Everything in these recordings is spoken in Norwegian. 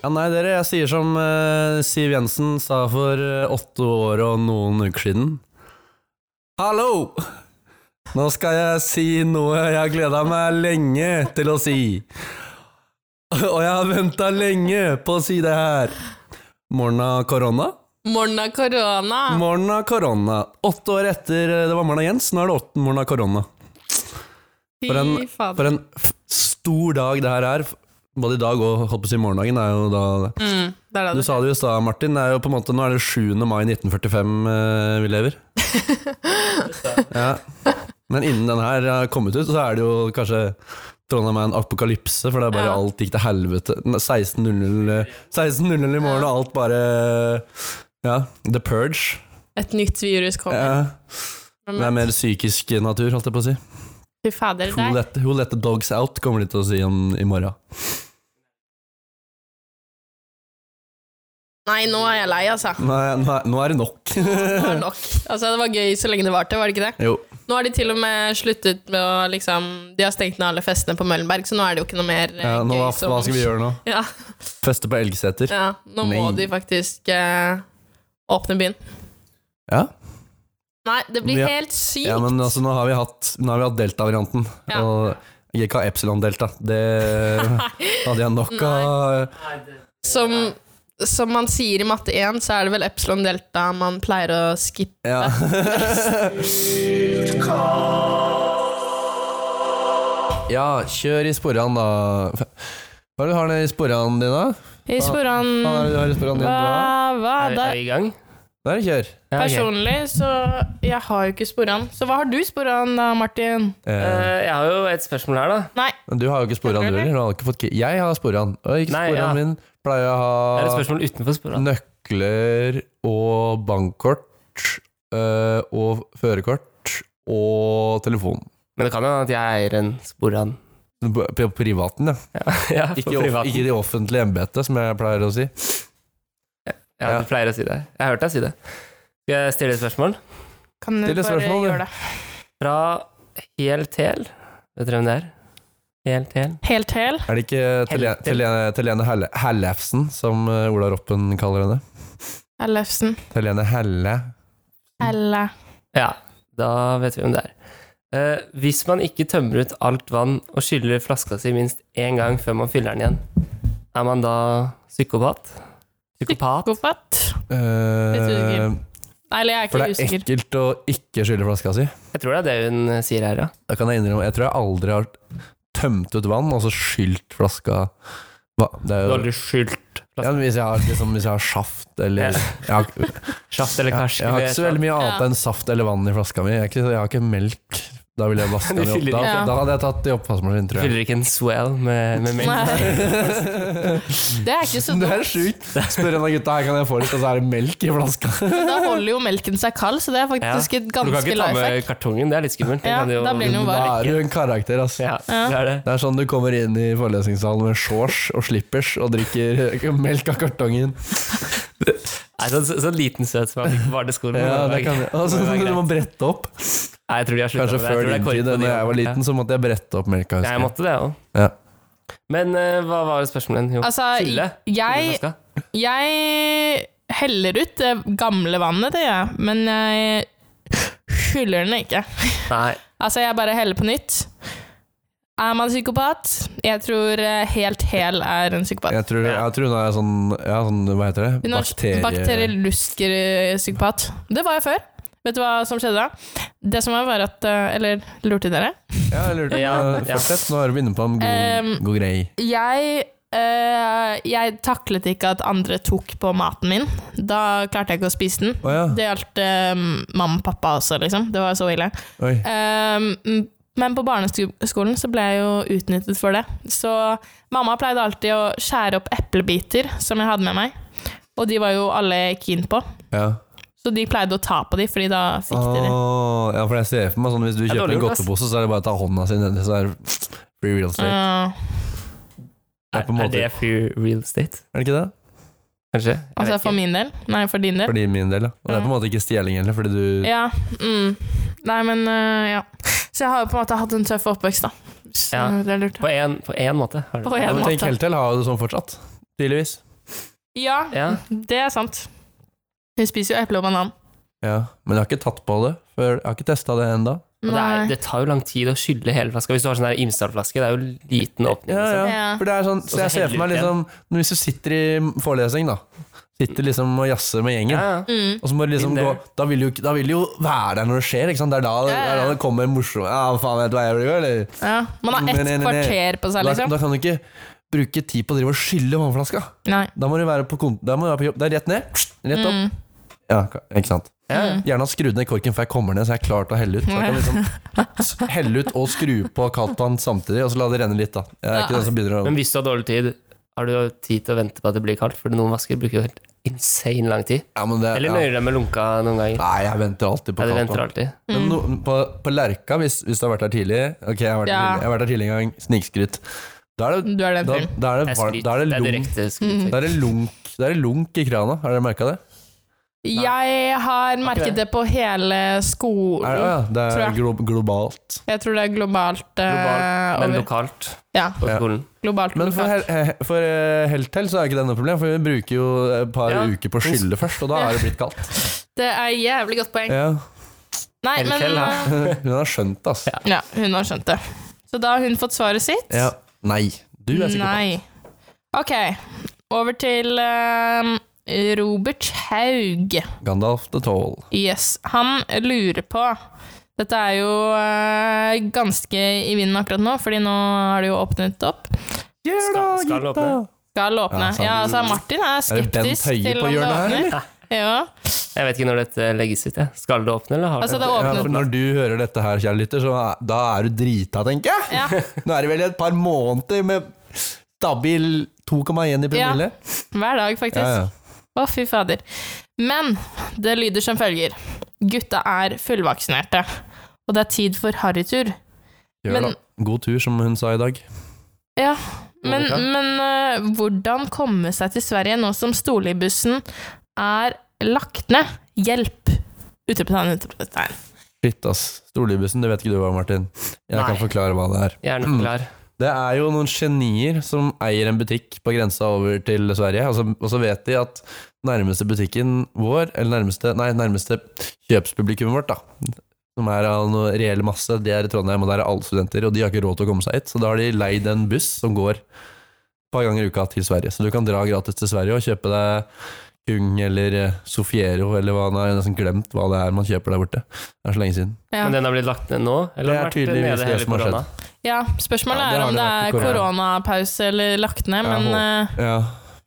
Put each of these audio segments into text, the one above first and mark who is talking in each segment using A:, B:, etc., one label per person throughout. A: Ja, nei, dere, jeg sier som eh, Siv Jensen sa for eh, åtte år og noen uker siden. Hallo! Nå skal jeg si noe jeg har gleda meg lenge til å si. Og jeg har venta lenge på å si det her. Morna korona?
B: Morna korona.
A: Morna korona. Åtte år etter eh, det var morna Jens, nå er det åtte morna korona.
B: Fy
A: For en,
B: fader.
A: for en f stor dag det her er. Både i dag og holdt på å si morgendagen er jo da
B: Mm, det er
A: Du
B: det.
A: sa det jo i stad, Martin. Det er jo på en måte, nå er det 7. mai 1945 eh, vi lever. Ja. Men innen den her har kommet ut, så er det jo kanskje Trondheim er en apokalypse, for det er bare
B: Ja.
A: alt gikk til helvete. Nei, 16.00 16.00 i morgen, og alt bare Ja, the purge.
B: Et nytt virus kommer.
A: Ja. Det
B: Mm.
A: er mer psykisk natur, holdt jeg på å si.
B: Fy fader,
A: Who
B: der.
A: let, who let the dogs out, kommer de til å si om, i morgen.
B: Nei, nå er jeg lei, altså.
A: Nå er, nå er, nå er det
B: Det var
A: nok.
B: nok. Altså, det var gøy så lenge det varte, var det ikke det?
A: jo.
B: Nå har de til og med sluttet med å liksom De har stengt ned alle festene på Møllenberg, så nå er det jo ikke noe mer eh,
A: Ja, nå,
B: gøy
A: hva,
B: som
A: hva skal vi gjøre nå?
B: Ja,
A: Feste på Elgeseter?
B: ja nå må
A: Nei.
B: de faktisk eh, åpne byen.
A: Ja.
B: Nei, det blir
A: Ja.
B: helt sykt.
A: Ja, men altså, nå har vi hatt, nå har vi hatt delta-varianten.
B: Ja.
A: Og jeg ikke har epsilon-delta. Det hadde jeg nok av.
B: som, som man sier i matte 1, så er det vel epsilon delta man pleier å skippe.
A: Ja. ja, kjør i sporene, da. Hva er det du har nede i sporene dine? da?
B: I sporan
A: Hva er det du har i sporene dine? da?
B: Hva, hva
C: Er,
B: da?
C: er vi i gang?
A: Der, kjør.
C: Ja, ok.
B: Personlig, så Jeg har jo ikke sporan. Så hva har du sporan, da, Martin?
A: Eh,
C: Eh, jeg har jo et spørsmål her, da.
B: Nei.
A: men du har jo ikke sporene, du heller. Du har ikke fått ki- Jeg har sporene. Og ikke
C: Nei,
A: sporene
C: ja.
A: min. Pleier å
C: Det er et
A: ha
C: spørsmål utenfor sporet.
A: Nøkler og bankkort eh, og førerkort og telefon.
C: Men det kan jo hende at jeg eier en sporan.
A: På på privaten, ja.
C: ja,
A: Ikke,
C: på
A: i off-
C: privaten.
A: ikke i det offentlige embetet, som jeg pleier å si.
C: Ja, du pleier å si det. Jeg har hørt deg si det. Skal jeg stille et spørsmål?
B: Kan du
A: Still et
B: bare
A: spørsmål, du.
B: gjøre det?
C: Fra Heltel. Vet dere hvem det er? Heltel.
B: Helt hel?
A: Er det ikke Tele-
C: Helvete.
A: Tele- Telene Helle- Hellefsen, som eh, Ola Roppen kaller henne?
B: Ellefsen.
A: Telene Helle
B: Elle.
C: Ja, da vet vi hvem det er. Eh, hvis man ikke tømmer ut alt vann og skyller flaska si minst én gang før man fyller den igjen, er man da psykopat? Psykopat?
B: Psykopat?
A: eh,
B: Nei, eller jeg er
A: For
B: ikke
A: det er
B: usikker.
A: ekkelt å ikke skylle flaska si.
C: Jeg tror det er det hun eh, sier her, ja.
A: Da kan jeg innrømme Jeg tror jeg aldri har tømt ut vann og så skylt flaska Hva? Det er
C: Du
A: jo
C: har aldri skylt flaska.
A: Ja, men hvis jeg har, liksom, hvis jeg har saft eller jeg har, jeg,
C: Sjaft eller karsk?
A: har
C: eller
A: ikke så veldig mye annet
B: Ja.
A: enn saft eller vann i flaska mi. Jeg, er ikke, jeg har ikke melk. Da ville jeg vaska
C: Du
A: den i opp.
C: fyller
A: Da,
B: ikke.
A: da hadde jeg tatt det i oppvaskmaskinen, tror jeg.
C: Fyller ikke en swell med, med melk.
B: Det er ikke så
A: Det er
B: dumt.
A: sjukt. Spør en av gutta her, kan jeg få litt, og så er det melk i flaska.
B: Da holder jo melken seg kald, så det er faktisk et
C: Du kan
B: ganske
C: ikke ta
B: life
C: med
B: hack.
C: kartongen, det er litt skummelt. Den
B: Ja,
C: kan jo-
B: da blir den jo
A: Da
B: varm.
A: er du en karakter, ass.
C: Ja, det er det.
A: Det er sånn du kommer inn i forelesningssalen med shorts og slippers og drikker melk av kartongen.
C: Nei, sånn så, så liten søt som jeg fikk på barneskolen.
A: Ja, det kan jeg. Altså,
C: Det var
A: du
C: greit.
A: må brette opp.
C: Nei, jeg tror de har sluttet
A: Kanskje
C: med det.
A: før
C: tror det
A: din
C: er
A: tid,
C: korrekt på de
A: da jeg var
C: årene.
A: liten, så måtte jeg brette opp melka.
C: Ja, jeg måtte det òg.
A: Ja.
C: Men eh, hva var spørsmålet? Jo,
B: Altså,
C: Fylle.
B: jeg,
C: Fylleflaska.
B: jeg heller ut det gamle vannet, det gjør jeg, men jeg skyller den ikke.
C: Nei.
B: Altså, jeg bare heller på nytt. Er man psykopat? Jeg tror eh, helt hel er en psykopat.
A: Jeg tror, jeg tror hun er sånn, ja, sånn Hva heter det?
B: Hun
A: Bakterie...
B: er Bakterielusker-psykopat. Det var jeg før. Vet du hva som skjedde da? Det som var, var at eh, Eller lurte dere?
A: Ja, jeg lurte
C: Ja,
A: på-
C: ja.
A: Fortsett, nå er vi inne på en god,
B: Um,
A: god grei.
B: Jeg eh, Jeg taklet ikke at andre tok på maten min. Da klarte jeg ikke å spise den.
A: Å ja.
B: Det gjaldt eh, mamma og pappa også, liksom. Det var så ille.
A: Oi.
B: Ehm, m- men på barneskolen så ble jeg jo utnyttet for det. Så mamma pleide alltid å skjære opp eplebiter som jeg hadde med meg. Og de var jo alle keen på,
A: Ja.
B: så de pleide å ta på de, fordi da fikk de de.
A: Åh, ja, for jeg ser for meg sånn hvis du
C: er
A: kjøper en
C: dårlig gjort, ass.
A: godtepose, så er det bare å ta hånda si nedi, så er det free real estate.
B: Ja.
A: Det er på en
C: Er,
A: måte-
C: Mm. det free real estate?
A: Er det ikke det?
C: Kanskje? Jeg
B: altså
C: vet
B: for min del. Nei, for din del.
A: Fordi min del, ja. Og det er på en
C: Mm.
A: måte ikke stjeling heller, fordi du
B: Ja. Mm. Nei, men øh, ja. Så jeg har jo på en måte hatt en tøff oppvekst, da. Så
C: Ja.
B: det er lurt.
C: ikke. På en- På én måte. har du
B: På en
C: det.
A: Men
B: måte.
A: Tenk helt til, har jo det sånn fortsatt. Tydeligvis.
B: Ja,
C: Ja.
B: det er sant. Hun spiser jo eple og banan.
A: Ja, men jeg har ikke tatt på det før. Jeg har ikke testa det ennå.
C: Og det,
B: Nei.
C: er, det tar jo lang tid å skylle hele flaska. Hvis du har sånn der Imsdal-flaske, det er jo liten åpning.
A: Ja, ja.
C: liksom.
B: Ja.
A: For det er sånn,
C: Og
A: så
C: så
A: jeg ser
C: heller
A: for meg
C: du ut
A: liksom Hvis du sitter i forelesning, da. Sitter liksom og jazzer med gjengen.
C: Ja, ja.
B: Mm.
A: Og så må du liksom
C: Inn
A: gå
C: der.
A: Da vil du jo, da vil du jo være der når det skjer, ikke sant? Det er da det,
B: Ja, ja.
A: det, er da det kommer morsomme Ja, faen, vet du hva jeg vil gjøre, eller?
B: Ja. Man har
A: Men, nei, nei,
B: ett
A: nei.
B: kvarter på seg,
A: Da,
B: liksom.
A: da kan du ikke bruke tid på å drive og skylle vannflaska.
B: Nei.
A: Da må du være på kont... Da må du være på jobb. Det er rett ned, rett opp.
B: Mm.
A: Ja, ikke sant.
C: Ja, ja.
A: Gjerne ha skrudd ned korken før jeg kommer ned, så jeg er klar til å helle ut. Så jeg kan liksom s- helle ut og skru på kaldtvann samtidig, og så la det renne litt, da. Jeg er
B: Ja.
A: ikke den som begynner å
C: Men hvis du har dårlig tid, har du tid til å vente på at det blir kaldt? For noen vasker bruker jo helt insane lang tid.
A: ja, men det,
C: Eller
A: ja.
C: nøyer deg med lunka noen ganger.
A: Nei, jeg venter alltid på
C: Ja, du
A: kaldt
C: venter
A: vann.
B: Mm.
C: alltid.
A: Men no, på, på Lerka, hvis, hvis du har vært der tidlig Ok, jeg har vært, der
B: Ja.
A: tidlig, jeg har vært der tidlig en gang. Snikskryt. Da er det,
B: Du er den
A: da,
B: fyren.
A: da er
C: Det
A: det,
C: er
A: var-
C: skryt.
A: da er det,
C: Det er
A: lunk,
C: direkte skryt.
B: Mm.
A: da er det, lunk, da er det lunk i krana. Har dere merka det?
B: Jeg har merket det på hele
A: Er,
B: skolen.
A: ja, det
B: Tror
A: er
B: jeg.
A: glo, globalt.
B: Jeg tror det er globalt. eh,
C: Globalt, men
B: over.
C: lokalt
B: Ja,
C: på
A: Ja.
C: skolen.
B: globalt.
A: Men for,
B: lokalt.
A: hel- he- for eh, Heltel så er ikke det noe problem, for vi bruker jo et par
C: Ja.
A: uker på å skylle først, og da er det blitt kaldt.
B: Det er jævlig godt poeng.
A: Ja.
B: Nei,
C: Eller
B: men
C: Kjell, da.
B: eh,
A: Hun har skjønt det, altså.
B: Ja, hun har skjønt det. Så da har hun fått svaret sitt?
A: Ja. Nei. Du er sikker
B: Nei. Ok, over til eh, Robert Haug.
A: på Gandalf the Toll.
B: Yes. Han lurer på Dette er jo eh, ganske i vinden akkurat nå, fordi nå har det jo åpnet opp.
C: Skal- skal han åpne?
B: Skal åpne.
A: Ja, sant.
B: Ja, altså Martin er
A: Er det Bent
B: skeptisk
A: Høie
B: til
A: på
B: om det
A: hjørnet her,
B: åpner.
A: eller?
B: Ja.
C: Jeg vet ikke når dette legges ut. Jeg. Skal det åpne, eller har
B: Altså, det
A: Ja,
B: åpner
A: for når du hører dette her, kjære lytter, så er, da er du drita, tenker jeg.
B: Ja.
A: Nå er det vel et par måneder med stabil 2,1 i promille.
B: Hver dag, faktisk.
A: Ja, ja.
B: Å, fy fader. Men det lyder som følger. Gutta er fullvaksinerte, og det er tid for harrytur.
A: Gjør
B: Men-
A: det. da. God tur, som hun sa i dag.
B: Ja, men,
C: Monica?
B: men øh, hvordan komme seg til Sverige nå som storlibussen er lagt ned? Hjelp! Utropstegn, utropstegn.
A: Shit, ass. Storlibussen, det vet ikke du hva, Martin. Jeg
C: Nei.
A: kan forklare hva det er.
C: Gjerne
B: Mm.
C: klar.
A: Det er jo noen genier som eier en butikk på grensa over til Sverige, og så, og så vet de at nærmeste butikken vår, eller nærmeste, nei, nærmeste kjøpspublikummet vårt, da, som er av noe reell masse, det er i Trondheim, og der er alle studenter, og de har ikke råd til å komme seg hit, så da har de leid en buss som går et par ganger i uka til Sverige. Så du kan dra gratis til Sverige og kjøpe deg Kung eller eh, Sofiero, eller hva, nå har jeg nesten glemt hva det er man kjøper der borte. Det er så lenge siden.
B: Ja.
C: Men den har blitt lagt ned nå?
A: Det er
C: Eller har den vært
A: tydeligvis
C: nede
A: det
C: hele
A: som har skjedd.
C: korona?
B: ja, spørsmålet
A: Ja, det
B: er
A: har
B: om
A: det
B: det
A: vært i
B: er
A: korona.
B: koronapause eller lagt ned,
A: Ja,
B: men
A: håper-
B: øh,
A: Ja,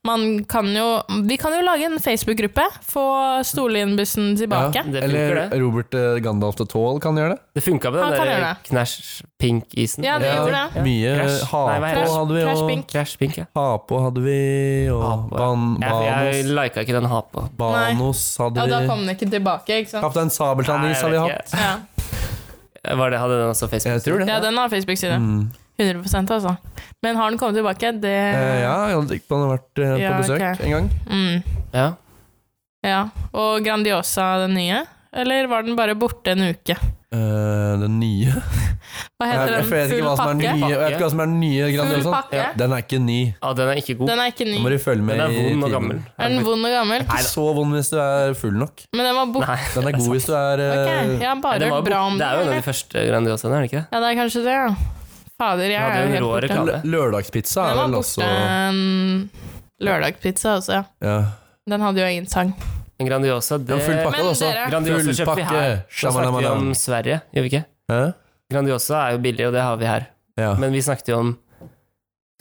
B: man kan jo Vi kan jo lage en Facebook-gruppe. Få Storlienbussen tilbake.
C: Det funker,
A: Eller
C: det.
A: Robert eh, Gandalf the Tall kan gjøre det.
C: Det funka med
B: Han
C: den
B: kan
C: der
B: gjøre det.
C: knæsj pink-isen.
B: Ja, det
A: Ja,
B: gjorde det.
A: Mye
C: Crash.
A: ha
C: Nei, hva heter
A: på
C: det?
A: hadde vi,
B: Crash
A: og
B: Pink.
C: Knæsj pink, ja.
A: ha på hadde vi,
C: Ha
A: og
C: på, ja.
A: ban
C: Jeg, jeg
A: banos,
C: lika ikke den ha på.
A: banos
B: Ja, da
A: hadde vi.
B: kom den ikke tilbake, ikke sant?
A: Kaptein
C: Nei, jeg
A: Sabeltann-is har vi
C: vet
A: hatt.
B: Ja,
C: ikke. Var det, hadde den også Facebook?
A: Jeg tror det.
B: ja den har Facebook-side.
A: Mm.
B: 100 altså. Men har den kommet tilbake? Det
A: Eh, ja, Jan Dikman har vært eh, på
B: Ja,
A: besøk
B: ok.
A: en gang.
B: Mm,
C: Ja.
B: ja. Og Grandiosa, den nye? Eller var den bare borte en uke?
A: Eh, den nye
B: Hva
A: jeg,
B: heter
A: jeg
B: den?
A: vet ikke hva
B: Full
A: som er den
B: pakke?
A: nye. Jeg vet ikke hva som er den nye
B: Full
A: Grandiosa.
B: pakke?
C: Ja.
A: sånn. Den er ikke ny.
C: Ah, den er ikke god.
B: Den er ikke
A: Nå må
B: ny.
A: du følge med
C: Den er
A: i
C: vond og
A: tiden.
C: gammel.
B: Er den vond og gammel?
A: Ikke så vond hvis du er full nok.
B: Men den var borte.
C: Nei.
A: Den er god hvis du er
B: Ok,
A: eh,
B: jeg har
C: Nei,
B: bare
C: den var
B: hørt bra
C: god.
B: om
C: det er jo en av
B: den.
C: de første Grandiosaene, er det ikke det?
B: Ja, det er kanskje det, ja. Fader, jeg
C: Ja, det er
B: er jo
C: en
B: helt
C: rå
B: borte.
C: reklame.
A: lø- Lørdagspizza
B: Den
A: er
B: var
A: vel
B: borte
A: også
B: en lørdagspizza også, ja.
A: ja.
B: Den hadde jo egen sang.
C: En Grandiosa, det
A: Ja, full pakke,
B: Men
A: da, så.
B: dere-
C: Grandiosa
A: Full
C: kjøper vi
A: pakke,
C: her. Nå snakker vi om
A: shamalamalam.
C: Sverige, gjør vi ikke?
A: Hæ?
C: Grandiosa er jo billig, og det har vi her.
A: Ja.
C: Men vi snakket jo om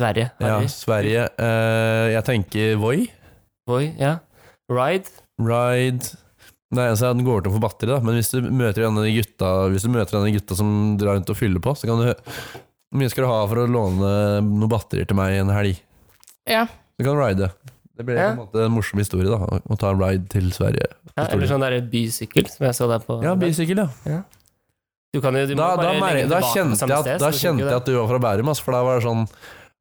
C: Sverige.
A: Ah.
C: Har
A: Ja,
C: vi?
A: Sverige. Eh, jeg tenker Voi.
C: Voi, ja. Ride.
A: Ride Nei, altså Den går tom for batteri, da, men hvis du møter en av de gutta Hvis du møter en av de gutta som drar rundt og fyller på, så kan du Hvor mye skal du ha for å låne noen batterier til meg en helg?
B: Ja.
A: Du kan ride. Det blir på
C: Ja.
A: en måte en morsom historie, da, å- å ta en ride til Sverige.
C: Ja, eller sånn der bysykkel, som jeg så der på.
A: Ja, bysykkel, ja.
C: Du kan jo, du
A: Da,
C: må
A: da,
C: bare
A: mer-
C: legge den
A: da
C: tilbake på
A: kjente
C: samme
A: jeg at,
C: sted,
A: da
C: så det
A: kjente
C: funker
A: jeg
C: jo
A: at du var fra Bærum, ass, for da var det sånn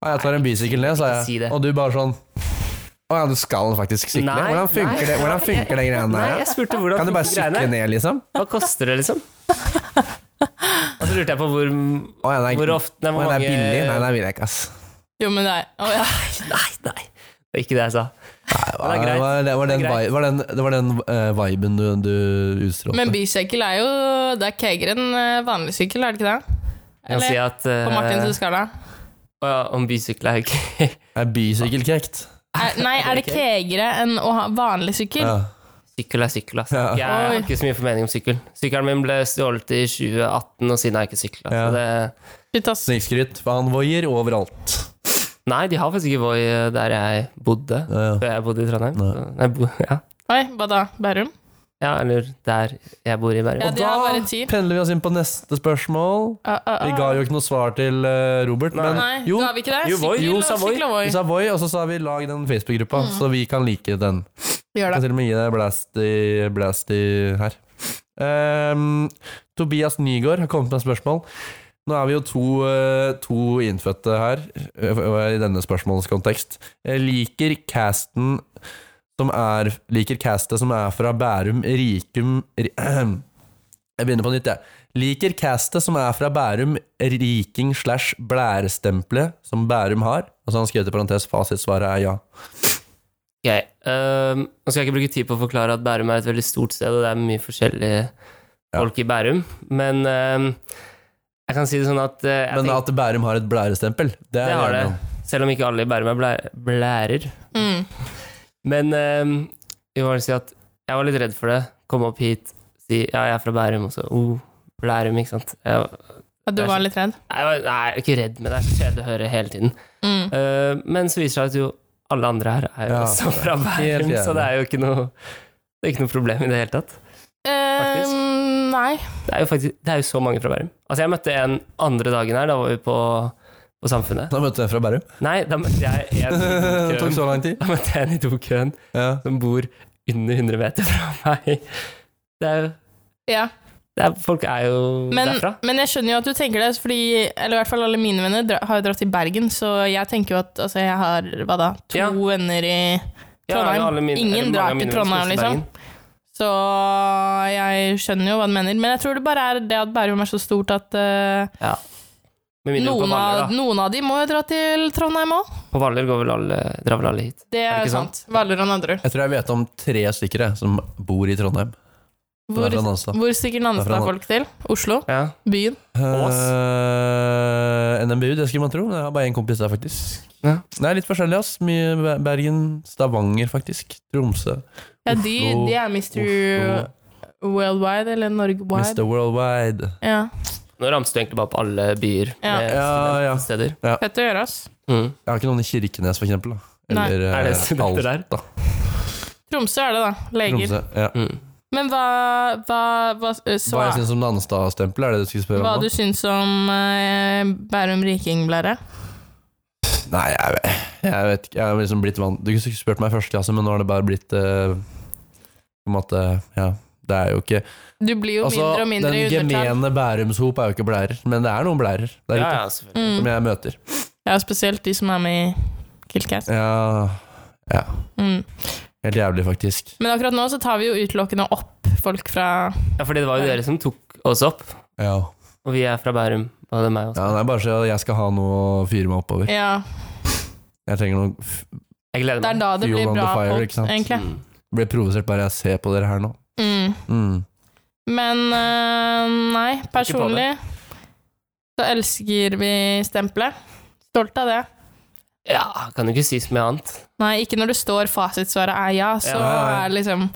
A: Nei, jeg tar en bysykkel ned, sa
C: ikke si det.
A: jeg. Og du bare sånn Å ja, du skal faktisk sykle?
C: Nei,
A: Hvordan funker
C: nei.
A: det Hvordan funker det
C: det.
A: greiene
C: Nei,
A: der? ja?
C: jeg spurte hvordan
A: Kan du bare
C: funker
A: sykle
C: greiene?
A: ned, liksom?
C: Hva koster det, liksom? Og så lurte jeg på hvor,
A: Å, ja, nei,
C: hvor ofte nei,
A: Nei,
C: hvor
A: det
C: mange
A: er billig. Nei, det vil jeg ikke, ass.
B: Jo, men det er Å ja.
C: Nei, nei. Det er ikke det jeg sa.
A: Nei,
C: det er greit.
A: var- det var den
C: Det er greit.
A: vi- var den- Det var den eh, viben du, du utstrålte.
B: Men bysykkel er jo Det er kegere enn eh, vanlig sykkel, er det ikke det?
C: Jeg kan si
B: Eller
C: at
B: på Martins
C: eh,
B: Husqvarna?
C: å ja, Om bysykler er ok.
A: er bysykkel kekt?
B: Er- Nei, er det kegere enn å ha vanlig sykkel?
A: Ja.
C: Sykkel er sykkel, ass.
A: Ja.
C: Jeg har
B: Oi.
C: ikke så mye formening om sykkel. Sykkelen min ble stjålet i 2018, og siden har jeg ikke sykla.
A: Ja.
B: Slutt, ass.
A: Snikskryt, for han voier overalt.
C: Nei, de har faktisk ikke Voi eh, der jeg bodde.
A: Ja, ja.
C: Før jeg bodde i Trondheim.
A: Nei.
C: Så- Nei, bo, ja.
B: Oi, hva da? Bærum?
C: ja, eller der jeg bor i
B: Ja,
C: Bergen.
B: de har bare ti.
A: pendler vi oss inn på neste spørsmål.
B: Ah, ah, ah.
A: Vi ga jo ikke noe svar til eh, Robert,
C: Nei.
A: men
B: Nei,
A: jo,
B: ga vi ikke det?
A: jo, Voi.
B: Sykkel
A: Jo,
B: og
A: sa Voi.
B: sykkel og Voi. Mhm.
A: Vi sa Voi, og så sa vi lag den Facebook-gruppa, så vi kan like den.
B: Vi gjør
A: Kan
B: det.
A: til og med gi deg blast i, blast i her. Ehm, Tobias Nygaard har kommet med et spørsmål. Nå er vi jo to, eh, to innfødte her, eh, i denne spørsmålets kontekst. Jeg liker casten som er Liker castet som er fra Bærum Rikum ri- Jeg begynner på nytt, jeg. Liker castet som er fra Bærum Riking slash blærestempelet som Bærum har. Og så har han skrevet i parentes fasitsvaret er ja.
C: Ok, ehm, Nå skal jeg ikke bruke tid på å forklare at Bærum er et veldig stort sted, og det er mye forskjellige folk i Bærum, men ehm, jeg kan si det sånn at, eh, jeg
A: Men
C: tenker,
A: at Bærum har et blærestempel, det er
C: Det har
A: jeg enig
C: det.
A: om.
C: selv om ikke alle i Bærum er blæ blærer
B: Mm.
C: Men ehm, jeg vil bare si at jeg var litt redd for det. Komme opp hit, si ja, jeg er fra Bærum, og så oh, Blærum, ikke sant. Jeg, var-
B: Ja, Du var litt redd?
C: jeg var, nei, jeg er ikke redd, men det er så kjedelig å høre hele tiden.
B: Mm.
C: Eh, men så viser det seg at jo alle andre her er jo
A: Ja.
C: også fra
A: Helt
C: Bærum,
A: jævlig.
C: så det er jo ikke noe det er ikke noe problem i det hele tatt. Faktisk.
B: Eh, nei.
C: Det er jo faktisk, det er jo så mange fra Bærum. Altså Jeg møtte en andre dagen her, da var vi på, på Samfunnet.
A: Da møtte jeg fra Bærum.
C: Nei, da møtte jeg en
A: Det
C: i
A: tok
C: dokøen.
A: så lang tid.
C: Da møtte jeg en i dokøen
A: Ja.
C: som bor under 100 meter fra meg. Det er, jo-
B: Ja.
C: det er, folk er jo
B: Men,
C: derfra.
B: men jeg skjønner jo at du tenker det, fordi, eller i hvert fall alle mine venner dra, har jo dratt til Bergen, så jeg tenker jo at altså, jeg har hva da, to
C: Ja.
B: venner i
C: Ja,
B: Trondheim.
C: alle mine- eller
B: Ingen
C: mange
B: drar
C: av mine
B: til
C: venner
B: Trondheim,
C: skal til
B: liksom.
C: Bergen.
B: Så jeg skjønner jo hva du mener. Men jeg tror det bare er det at Bærum er så stort at eh,
C: Ja. Med mindre på
B: noen,
C: Hvaler,
B: av,
C: da.
B: noen av de må jo dra til Trondheim òg.
C: På Hvaler går vel alle, drar vel alle hit.
B: Det er
C: ikke
B: jo sant. Hvaler og Nadderud.
A: Jeg tror jeg vet om tre stykker jeg, som bor i Trondheim. Det er
B: Hvor,
A: fra Nanstad.
B: hvor stikker
A: Det er fra
B: Nanstad folk til? Oslo?
C: Ja.
B: Byen?
C: Ås?
A: Eh, NMBU, det skulle man tro. men Jeg har bare én kompis der, faktisk.
C: Ja.
A: Det er litt forskjellig, ass. Mye Be- Bergen, Stavanger, faktisk. Tromsø,
B: Ja, de,
A: Oslo,
B: de er Mr.
A: Oslo,
B: Worldwide, eller Norge-wide.
A: Mr. Worldwide.
B: Ja.
C: Nå ramste du egentlig bare opp alle byer
B: Ja.
C: med
A: Ja, ja.
C: steder.
B: Fett å gjøre, ass.
C: Mm.
A: Jeg har ikke noen i Kirkenes, for eksempel. Da.
B: Nei.
A: Eller
C: Er det
A: eh,
C: studenter der?
A: Alta.
B: Tromsø er det, da. Leger.
A: Tromsø. Ja.
C: Mm.
B: Men hva, hva, hva, eh, så,
A: Hva jeg syns om Nanstad-stempelet, er det du skulle spørre
B: hva
A: om?
B: du
A: nå?
B: syns om eh, Bærum Riking-blære?
A: Nei, jeg, vet- jeg vet ikke. Jeg har liksom blitt vant Du skulle spurt meg i første klasse, men nå har det bare blitt eh, På en måte Ja. Det er jo ikke
B: Du blir jo
A: Altså,
B: mindre og mindre i
A: den
B: undertall.
A: gemene Bærumshop er jo ikke blærer, men det er noen blærer der
C: Ja,
A: ute
C: ja, selvfølgelig.
A: som
B: Mm.
A: jeg møter.
B: Ja, spesielt de som er med i Killcast.
A: Ja,
B: Mm.
A: helt jævlig, faktisk.
B: Men akkurat nå så tar vi jo utelukkende opp folk fra
C: ja, fordi det var jo dere som tok oss opp,
A: Ja.
C: og vi er fra Bærum. Og det er meg også.
A: ja, Det er bare så jeg skal ha noe å fyre meg oppover.
B: Ja,
A: Jeg trenger noe f-
C: Jeg gleder
B: det er
C: meg.
B: da det blir
A: Fuel on
B: bra
A: the fire,
B: folk,
A: ikke sant?
B: egentlig.
C: Mm.
A: Blir provosert bare jeg ser på dere her nå.
B: Mm.
A: Mm.
B: Men eh, nei, personlig så elsker vi stempelet. Stolt av det.
C: Ja, kan jo ikke si så mye annet.
B: Nei, ikke når det står fasitsvaret er ja, så
C: Ja, ja,
A: ja.
B: er det liksom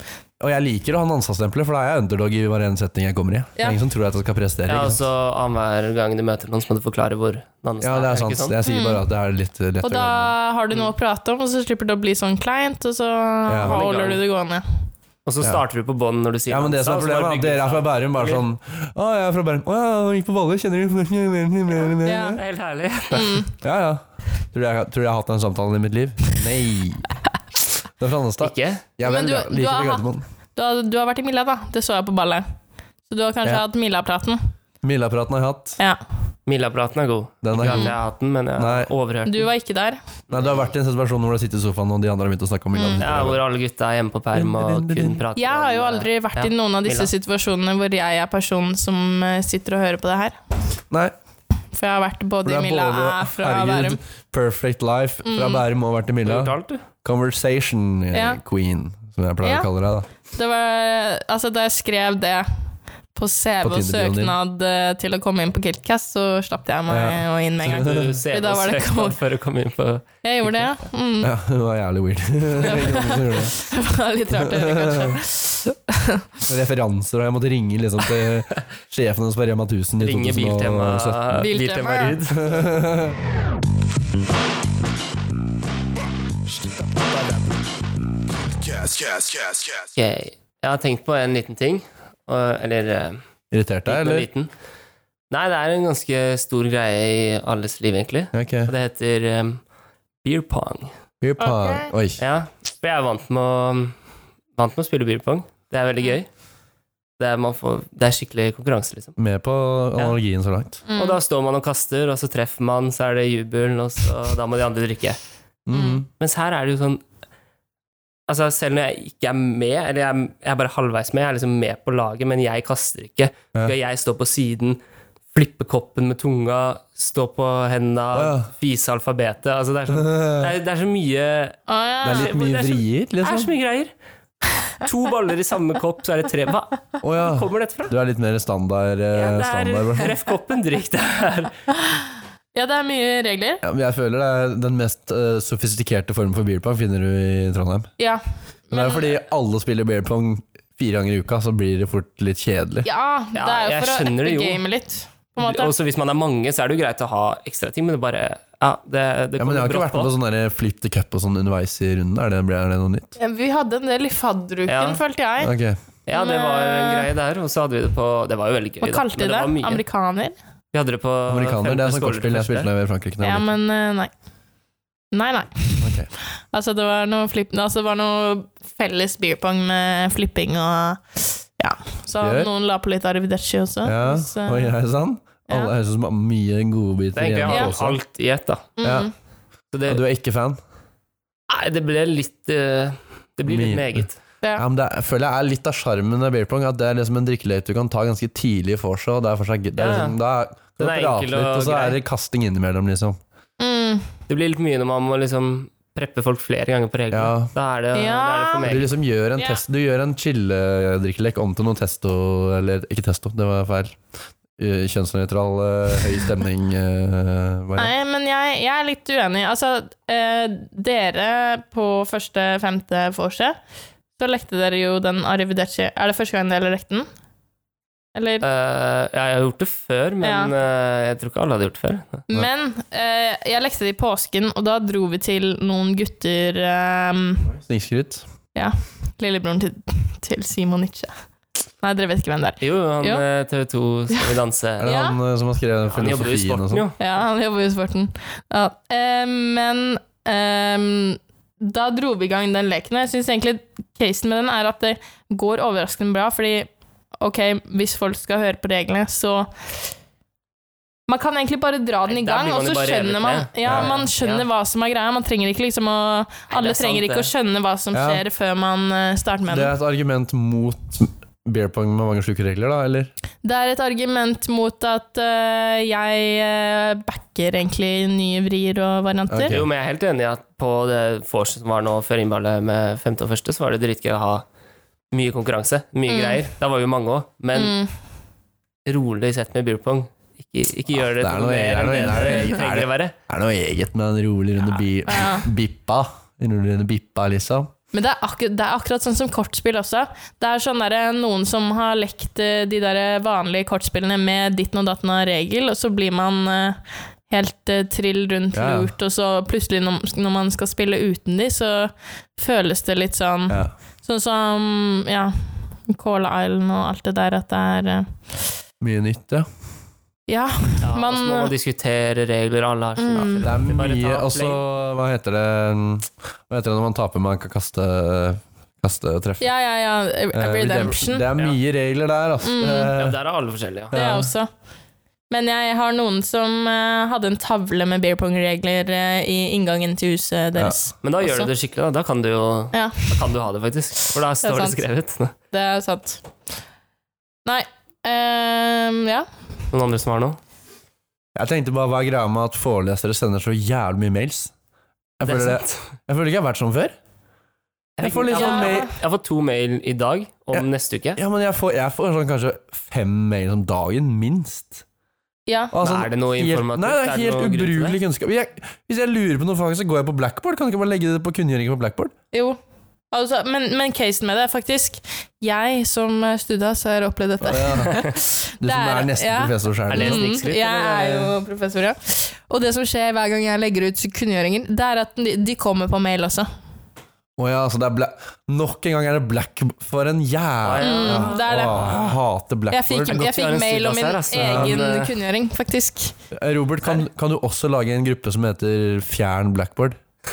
A: Og jeg liker å ha Nansa-stempelet, for da er jeg underdog i hver eneste setning jeg kommer i. Det
B: Ja.
A: er ingen som tror at jeg skal prestere.
C: Ja,
A: ikke
C: altså,
A: sant?
C: og så Annenhver gang du møter noen, så må du forklare hvor Nannestad
A: ja, det er
C: ikke
A: sant. Jeg sier bare at det er litt eh, lett
B: Mm. Og
A: å
B: da
A: glemme.
B: har du noe å prate om, og så slipper det å bli sånn kleint, og så
A: Mm. Ja.
B: holder du det gående.
C: Og så
A: Ja.
C: starter du på bånn når du sier
A: Ja, men det som er
C: Nannestad, og så
A: problemet,
C: bare
A: er at
C: bygger
A: dere er fra Bærum. Bare sånn Å, jeg er fra Bærum. Å ja, jeg gikk på Valle, kjenner du
B: Ja.
C: Det er helt herlig.
B: Mm.
A: Ja, ja. Tror du jeg, tror du jeg har hatt den samtalen i mitt liv? Nei. Det er fra Andestad.
C: Ikke?
A: Jeg
B: Men
A: vel,
B: du-
A: ja.
B: du
A: liker
B: har
A: det
B: hatt-
A: Gardermoen.
B: Du har, du har vært i Milla, da. Det så jeg på ballet. Så du har kanskje
A: Ja.
B: hatt Milla-praten.
A: Milla-praten har jeg hatt.
B: Ja.
C: Milla-praten er god.
A: Den er
C: Ikke at
A: god.
C: jeg har hatt den, men jeg
A: Nei.
C: har overhørt
B: Du var ikke der.
A: Nei, du har vært i en situasjon hvor du har sittet i sofaen, og de andre har begynt å snakke om Milla.
B: Mm.
A: Mm.
C: Ja, hvor alle gutta er hjemme på perm og kun prater
B: Jeg har jo
C: om, eh,
B: aldri vært
C: ja.
B: i noen av disse
C: Milla.
B: situasjonene hvor jeg er personen som eh, sitter og hører på det her.
A: Nei.
B: For jeg har vært
A: For
B: både
A: det
B: i
A: er
B: Milla og
A: både-
B: er fra Bærum.
A: Perfect Life fra
B: Mm.
A: Bærum og vært i Milla.
C: Uttalt?
A: Conversation eh,
B: Ja.
A: Queen, som jeg pleier å
B: Ja.
A: kalle deg. da
B: Det var, altså, da jeg skrev det på CV og
A: Tinder-bioen din.
B: søknad eh, til å komme inn på Kiltcast, så slapp jeg meg
A: Ja.
B: å inn med en gang.
C: Du ser
B: Da
C: på
B: var det
C: søknaden
B: kort.
C: før du kom inn på
B: Jeg gjorde det, ja. Mm.
A: Ja, det var jævlig weird. Ingen andre gjorde det.
B: Det var litt rart å gjøre, kanskje.
A: Referanser, og jeg måtte ringe liksom til sjefen hans på Rema 1000 i
C: Ringe
A: 2017.
C: Biltema,
B: Biltema.
C: Biltema Ryd.
D: Cast, cast, cast, cast.
C: Ok, Jeg har tenkt på en liten ting. og- Eller eh,
A: Irritert deg,
C: liten og
A: eller?
C: liten. Nei, det er en ganske stor greie i alles liv, egentlig.
A: Ok.
C: Og det heter eh, beer pong.
A: Beer pong.
B: Ok.
A: Oi.
C: Ja, for jeg er vant med å, um, vant med å spille beer pong. Det er veldig gøy. Det er, man får, det er skikkelig konkurranse, liksom.
A: Med på analogien så langt.
B: Mm.
C: Og da står man og kaster, og så treffer man, så er det jubel, og så, da må de andre drikke.
A: Mhm.
C: Mens her er det jo sånn Altså Selv når jeg ikke er med, eller jeg, er- jeg er bare halvveis med, jeg er liksom med på laget, men jeg kaster ikke.
A: Ja.
C: Skal jeg stå på siden, flippe koppen med tunga, stå på henda,
A: Å, ja.
C: fise alfabetet altså det, er så, det,
A: Det
C: er, det er så mye
B: Å,
A: er
B: ja.
A: litt mye
C: Det er så-
A: vrier,
C: Det er så
A: liksom.
C: mye greier. To baller i samme kopp, så er det tre Hva
A: Å ja.
C: kommer dette fra?
A: Du er litt mer standard. eh,
C: Ja, det
A: standard
C: er
A: bro.
C: Treff koppen, drikk det her.
B: ja, det er mye regler.
A: ja, men jeg føler det er den mest eh, sofistikerte formen for beer pong finner du i Trondheim.
B: Ja.
A: Men det er jo fordi alle spiller beer pong fire ganger i uka, så blir det fort litt kjedelig.
B: ja, det er jo
C: jeg
B: for
C: skjønner
B: å
C: det jo.
B: game litt, på en måte.
C: Og så hvis man er mange, så er det jo greit å ha ekstra ting, men det bare Ja, det,
A: Ja,
C: det
A: men
C: kommer
A: Jeg har ikke
C: brått
A: vært med på sånn der flip the cup og sånn underveis i runden. Er det, er det noe nytt?
B: Ja, Vi hadde en del i fadderuken,
C: Ja.
B: følte jeg.
A: Ok,
C: Ja, det var en
B: Men-
C: greie der, og så hadde vi det på Det var jo veldig gøy,
B: Hva kalte de
C: men
B: det?
C: var mye.
B: Amerikaner?
C: Vi hadde det på
A: Amerikaner,
C: femte
A: det er sånn
C: skole
A: kortspill jeg
C: første.
A: spilte da jeg var i Frankrike. da
B: Ja,
A: jeg var
B: men eh, nei. Nei, nei.
A: liten. Ok.
B: Altså, det var noe, flipp, altså, det var noe felles beerpong med flipping og Ja. Så
A: Gøy.
B: noen la på litt arrivederci også. eh,
A: Ja,
B: så,
A: Oi, er det sant?
B: Ja.
A: Alle høres ut som har mye gode
C: Det er
A: biter
C: egentlig
A: igjen
C: ja.
A: også.
C: alt i ett, da.
B: mm.
A: ja.
C: Så det,
A: Og du er ikke fan?
C: nei, det ble litt eh, Det blir litt
A: Mye.
C: meget.
B: Ja.
A: Ja, men det er, jeg føler jeg er litt av sjarmen med beer pong, at det er liksom en drikkelek du kan ta ganske tidlig for seg, og det er for seg gøy. Det er
C: Ja, ja.
A: liksom, da er- kan du
C: Den er
A: prate
C: enkel
A: litt,
C: og
A: og så
C: grei.
A: er det kasting innimellom, liksom.
B: Mm.
C: Det blir litt mye når man må liksom preppe folk flere ganger på reglene.
A: Ja.
C: Da, er det, da er det
B: Ja.
C: for
A: Du
C: meget.
A: liksom gjør en
B: Ja.
A: test Du gjør en chille-drikkelek om til noe testo Eller ikke testo, det var feil Eh, Kjønnsnøytral, eh, høy stemning eh, variant.
B: Nei, men jeg, jeg er litt uenig. Altså, eh, dere på første, femte vorset, så lekte dere jo den arrivederci. Er det første gang dere lekte den? Eller
C: Eh, ja, jeg har gjort det før, men eh, jeg tror ikke alle hadde gjort det før.
B: Men eh, jeg lekte det i påsken, og da dro vi til noen gutter eh,
A: Snikskryt
B: Lillebroren til, til Simon Nietzsche. Nei, dere vet ikke hvem det er.
C: Jo, han
B: Jo.
C: eh, TV2 Skal vi danse
A: Er det
B: Ja.
A: han eh, som har skrevet
C: Han jobber jo i
A: filosofien og
C: sporten,
A: sånn?
C: jo.
B: Ja, han jobber jo i sporten. Ja. Eh, men eh, da dro vi i gang den leken, og jeg syns egentlig casen med den er at det går overraskende bra, fordi ok, hvis folk skal høre på reglene, så man kan egentlig bare dra den i
C: der
B: gang,
C: blir
B: og
C: man jo
B: så
C: bare revet
B: skjønner man
C: med.
B: ja,
A: Ja,
B: man skjønner
C: ja.
B: hva som er greia. Man trenger ikke liksom å Alle
C: det er sant,
B: trenger ikke
C: det.
B: å skjønne hva som
A: Ja.
B: skjer før man eh, starter med
A: Det
B: den.
A: er et argument mot beer pong med mange sjuke regler da, eller?
B: Det er et argument mot at eh, jeg eh, backer egentlig nye vrier og varianter.
A: Ok.
C: Jo, men jeg er helt enig i at på det vorset som var nå før innballet med femte og første, så var det dritgøy å ha mye konkurranse, mye
B: Mm.
C: greier. Da var vi jo mange òg, men
B: Mm.
C: rolig sett med beer pong. Ikke, ikke gjør det,
A: Ah, det er noe-
C: mer
A: det er
C: enn
A: noe-
C: det det,
A: det er noe-
C: trenger å være.
A: Er det noe eget med en rolig runde bi
B: Ja.
A: bippa? En rolig runde bippa, liksom?
B: Men det er, akkur det er akkurat sånn som kortspill også. Det er sånn der, noen som har lekt eh, de der vanlige kortspillene med ditten og datten av regel, og så blir man eh, helt eh, trill rundt
A: Ja, ja.
B: lurt, og så plutselig når, når man skal spille uten de, så føles det litt sånn
A: Ja.
B: Sånn som ja, Cola Island og alt det der, at det er eh,
A: Mye nytt, ja.
B: Ja.
C: Ja,
B: Man-
C: og så må man diskutere regler, alle har sine
B: Mm.
A: Det er
C: Bare
A: mye
C: ta play.
A: Altså, hva heter det Hva heter det når man taper, man kan kaste Kaste og treffe?
B: Ja, ja, ja.
A: Eh,
B: Redemption.
A: Det er mye regler der, altså.
B: Mm.
A: Eh,
C: Ja, der er alle forskjellige, ja.
B: Det
A: Ja.
B: også. Men jeg har noen som eh, hadde en tavle med beer pong-regler eh, i inngangen til huset deres.
C: Men da gjør
B: Også.
C: du det skikkelig, da. Da kan du jo
B: Ja.
C: da kan du ha det, faktisk. For da står det
B: sant.
C: skrevet.
B: Det er sant. Nei ehm, Ja.
C: Noen andre som har noe?
A: Jeg tenkte bare hva er greia med at forelesere sender så jævlig mye mails? Jeg
C: Det er
A: føler, det,
C: sant.
A: jeg føler ikke jeg har vært sånn før. Jeg får litt
C: jeg,
A: sånn
B: Ja.
A: mail
C: har, jeg får to mail i dag om
A: Ja.
C: neste uke.
A: Ja, men jeg får, jeg får sånn kanskje fem mails om dagen, minst.
B: Ja.
A: Og
C: Men er det noe informativt?
A: Altså, Helt, nei, det er
C: Er det
A: helt
C: noe grunn til
A: ubrukelig kunnskap. Jeg, hvis jeg lurer på noe, fag, så går jeg på Blackboard. Kan du ikke bare legge det på kunngjøringen på Blackboard?
B: Jo. Altså, men, men casen med det er faktisk Jeg som eh, studas har opplevd dette.
A: Du som
B: Der,
A: er nesten
B: ja.
A: professor
C: Er det
A: sjøl.
C: en
B: Mm,
C: snikskryt,
B: jeg er
C: eller?
B: jo professor, ja. Og det som skjer hver gang jeg legger ut kunngjøringer, det er at de, de kommer på mail også.
A: Å ja, så det er bla Nok en gang er det black... For en jævla
C: Ja, ja.
B: Mm. det er det.
A: Åh, jeg hater
B: Jeg fikk,
A: blackboard.
C: godt
B: jeg
C: vi har
B: fikk
C: en
B: mail om min
C: studas her, altså.
B: egen
C: Men, eh,
B: kunngjøring, faktisk.
A: Robert, kan, kan du også lage en gruppe som heter Fjern blackboard? Og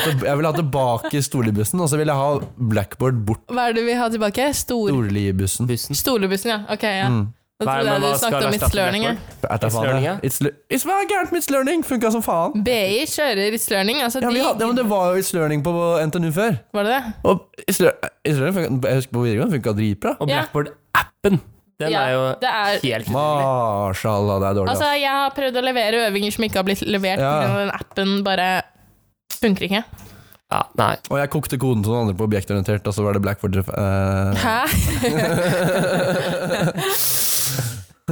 A: til- Jeg vil ha tilbake storlibussen, og så vil jeg ha blackboard bort
B: Hva er det vi har tilbake? Stor,
A: storlibussen.
C: Bussen.
B: Stolebussen, ja. Ok, ja. Da
C: Hva
B: trodde
C: er- Mm. men
B: jeg
C: hva
B: du
C: skal
B: snakket om
C: erstatte
B: It's Learning. ja.
A: Er det faen,
C: It's learning,
A: ja.
C: ja.
A: It's le- It's- Hva er gærent med It's Learning? Funka som faen.
B: BI kjører It's Learning. Altså,
A: Ja, vi
B: de,
A: hadde, ja, men det var jo It's Learning på NTNU før.
B: Var det det?
A: Og It's Lear- It's Learning funka, jeg husker på videregående funka dritbra.
C: Og
B: Ja.
C: Blackboard-appen, den
B: Ja,
C: er jo
B: det er-
C: helt
A: Mashallah, det er dårlig.
B: Altså,
A: ass.
B: jeg har prøvd å levere øvinger som ikke har blitt levert,
A: Ja.
B: men den appen bare funker ikke.
C: ja, Nei.
A: Og jeg kokte koden til noen andre på objektorientert, og så var det Blackford eh,
B: Hæ?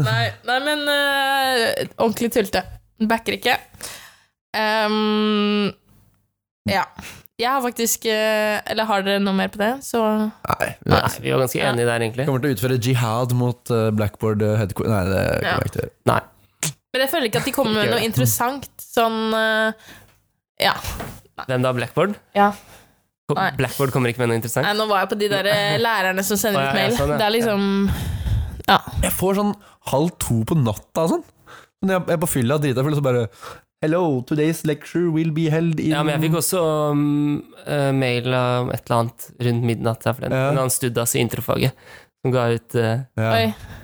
B: nei, nei, men eh, ordentlig tulte. Backer ikke. Ehm, ja. Jeg har faktisk eh, Eller har dere noe mer på det? Så
A: Nei.
C: nei,
A: Jeg
C: vi var ganske enige der, egentlig.
A: kommer til å utføre jihad mot eh, Blackboard eh, headquarter Nei, det
B: Ja.
A: kommer jeg ikke til å gjøre.
C: Nei.
B: Men jeg føler ikke at de kommer med
C: Ikke gjør
B: noe
C: det.
B: interessant sånn eh, Ja.
C: Hvem da? Blackboard?
B: ja.
C: Ko-
B: Nei.
C: Blackboard kommer ikke med noe interessant.
B: Nei, nå var jeg på de der eh, lærerne som sender
C: Å, ja,
B: ut
C: ja,
B: mail.
C: sånn, ja.
B: Det er liksom
A: Jeg får sånn halv to på natta og sånn. Når jeg jeg er på fylla drita full, så bare Hello, today's lecture will be held in
C: Ja, men jeg fikk også um, eh, mail om et eller annet rundt midnatt her forleden.
A: Ja.
C: En annen studdas i introfaget som ga ut eh,
A: ja.
B: Oi,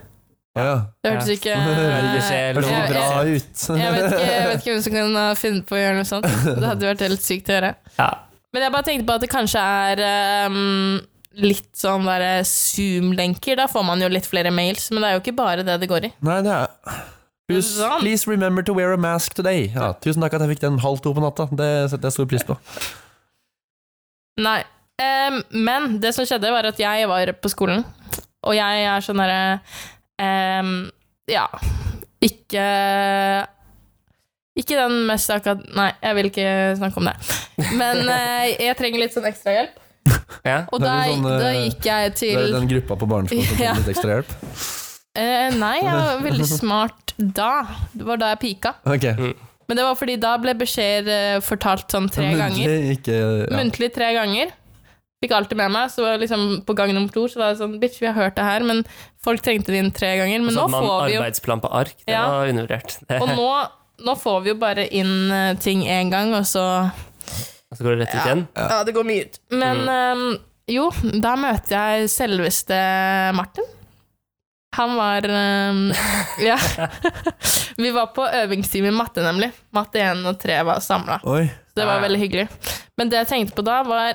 A: Ja, ja.
B: det hørtes ikke
A: Veldig
C: sjel.
A: Høres
B: Ja,
A: så bra
B: ja.
A: ut.
B: Jeg vet, ikke, jeg vet ikke hvem som kan ha funnet på å gjøre noe sånt. Det hadde vært helt sykt å gjøre.
C: Ja.
B: Men jeg bare tenkte på at det kanskje er ehm, litt sånn derre Zoom-lenker. Da får man jo litt flere mails, men det er jo ikke bare det det går i.
A: Nei, det er Please,
B: Sant.
A: please remember to wear a mask today. Ja, tusen takk at jeg fikk den halv to på natta. Det setter jeg stor pris på.
B: Nei. Ehm, men det som skjedde, var at jeg var på skolen, og jeg er sånn derre ehm, Ja, ikke ikke den mest akkurat Nei, jeg vil ikke snakke om det. Men eh, jeg trenger litt sånn ekstra hjelp.
C: ja.
B: Og
A: Det
B: da,
A: er litt
B: gikk-
A: sånn,
B: da
A: eh,
B: gikk
A: Det
B: jeg
A: er
B: til
A: den gruppa på barneskolen som
B: Ja.
A: trenger litt ekstra hjelp.
B: Eh, nei, jeg var veldig smart da. Det var da jeg pika.
A: Ok.
B: Men det var fordi da ble beskjeder eh, fortalt sånn tre ganger.
A: Muntlig, ikke ja.
B: Muntlig tre ganger. Fikk alltid med meg. Så var det liksom på gang nummer to så var det sånn Bitch, vi har hørt det her, men folk trengte det inn tre ganger. Men nå
C: Så hadde Altså man
B: får vi jo
C: arbeidsplan på ark. Det
B: Ja.
C: var undervurdert. Det-
B: Og nå, nå får vi jo bare inn eh, ting én gang, og så
C: Og så går det rett ut igjen.
B: Ja, det går mye ut. Men eh, jo, da møter jeg selveste Martin. Han var eh, Ja. Vi var på øvingstime i matte, nemlig. Matte 1 og 3 var samla.
A: Oi.
B: Det var veldig hyggelig. Men det jeg tenkte på da, var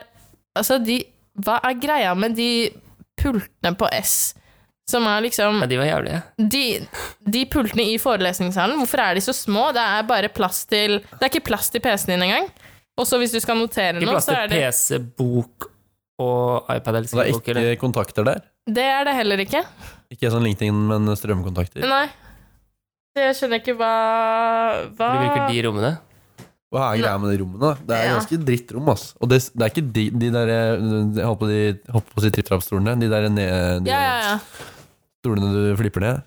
B: Altså, de Hva er greia med de pultene på S? Som er liksom
C: Ja, de var jævlige.
B: de, de pultene i forelesningssalen, hvorfor er de så små? Det er bare plass til Det er ikke plass til PC-en din engang. Og så hvis du skal notere
C: Ikke
B: noe,
C: plass
B: så
C: til
B: er det
C: PC, bok og iPad eller
A: Så det er
C: skrivebok. eller-
A: ikke kontakter der?
B: Det er det heller ikke.
A: Ikke sånn LinkedIn, men strømkontakter.
B: Nei. Det skjønner jeg ikke hva Hva
C: Hvor bruker
B: Ah.
C: de rommene?
A: Hva er greia med de rommene? da? Det er
B: Ja.
A: ganske drittrom, ass. Og det, det er ikke de, de der eh, Jeg holdt på, de, holdt på å si tripp-trapp-stolene. De der ned, de
B: Ja, ja, ja.
A: stolene du flipper ned.